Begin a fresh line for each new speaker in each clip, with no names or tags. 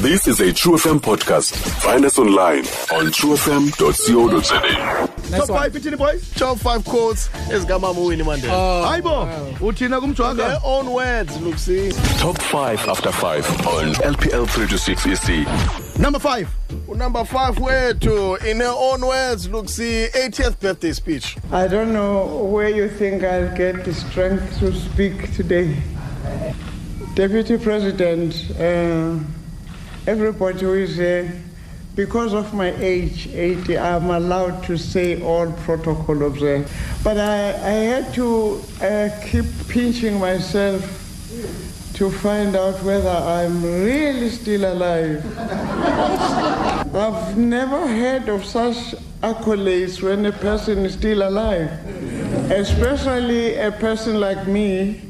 This is a True FM podcast. Find us online on truefm.co.za.
Top five ithini boys? Ah.
top five quotes ezikamama uwini mandela
Hayi bo. Uthina
their
kumjwanga?
own words look see
Top 5 after 5 on LPL 326 EC.
Number 5.
number five wethu in her own words look see 80th birthday speech
I don't know where you think I'll get the strength to speak today. Deputy President, uh, everybody who is here, because of my age, 80, I'm allowed to say all protocol of that. But I, I had to uh, keep pinching myself to find out whether I'm really still alive. I've never heard of such accolades when a person is still alive, especially a person like me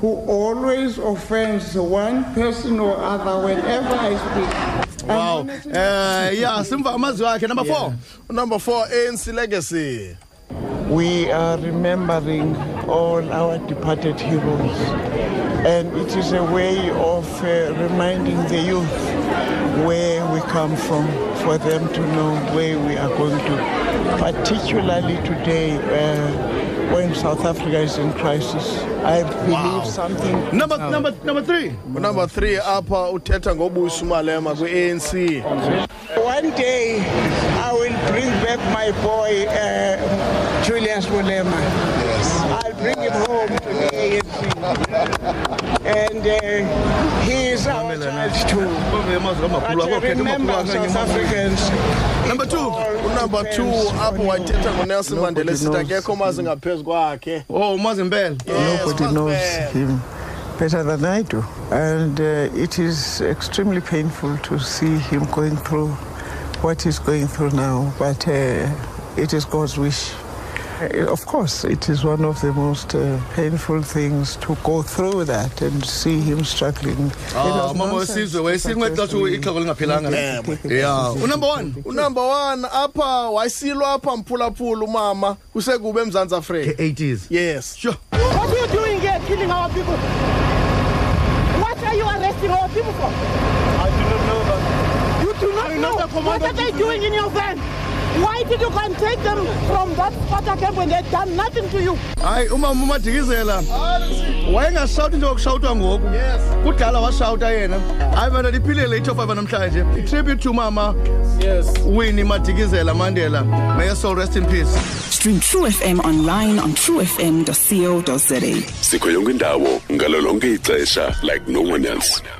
who always offends one person or other whenever I speak.
Wow. Eh yeah, simva amazwi akhe number 4.
number four anc legacy
We are remembering all our departed heroes, and it is a way of uh, reminding the youth where we come from for them to know where we are going to, particularly today uh, when South Africa is in crisis. I believe something
Number number number 3.
number three apha uthetha ngobusi umalema kwi-anc
One day I will bring back my boy uh, Julius Malema. I'll bring him home to the ANC. and uh, he is our child too. But uh, remember, South Africans.
Number two.
unumber two apho wathetha ngonelson mandela esithi akekho mazi ngaphezu kwakhe
Oh, Mazimbele.
Yes,
Nobody knows
Mazimbele.
him better than I do. And uh, it is extremely painful to see him going through what he's going through now, but uh, it is God's wish. Uh, Of course, it is one of the most uh, painful things to go through that and see him struggling.
Ah, mama wesizwe wesinqe xa ixhego lingaphelanga. Yeah. Unumber 1.
unumber one apha wasilwa apha mphulaphula umama kusekube emzantsi afrika
80s.
yes
Sure.
What are you doing here killing our people? What are you arresting our people for? I do not know that. You do not know? What are they doing in your van? Why did you come take them from that squatter camp when they've done nothing to you?
Hayi umama umadikizela. Wayengashawuti nje okushawutwa ngoku.
Yes.
Kudala washawuta yena. Hayi bana liphilele i-top 5 namhlanje. Tribute to mama
yes
Winnie Madikizela Mandela. May your soul rest in peace.
Stream True FM online on truefm.co.za.
Sikoyongindawo, ngalolonge ixesha like no one else.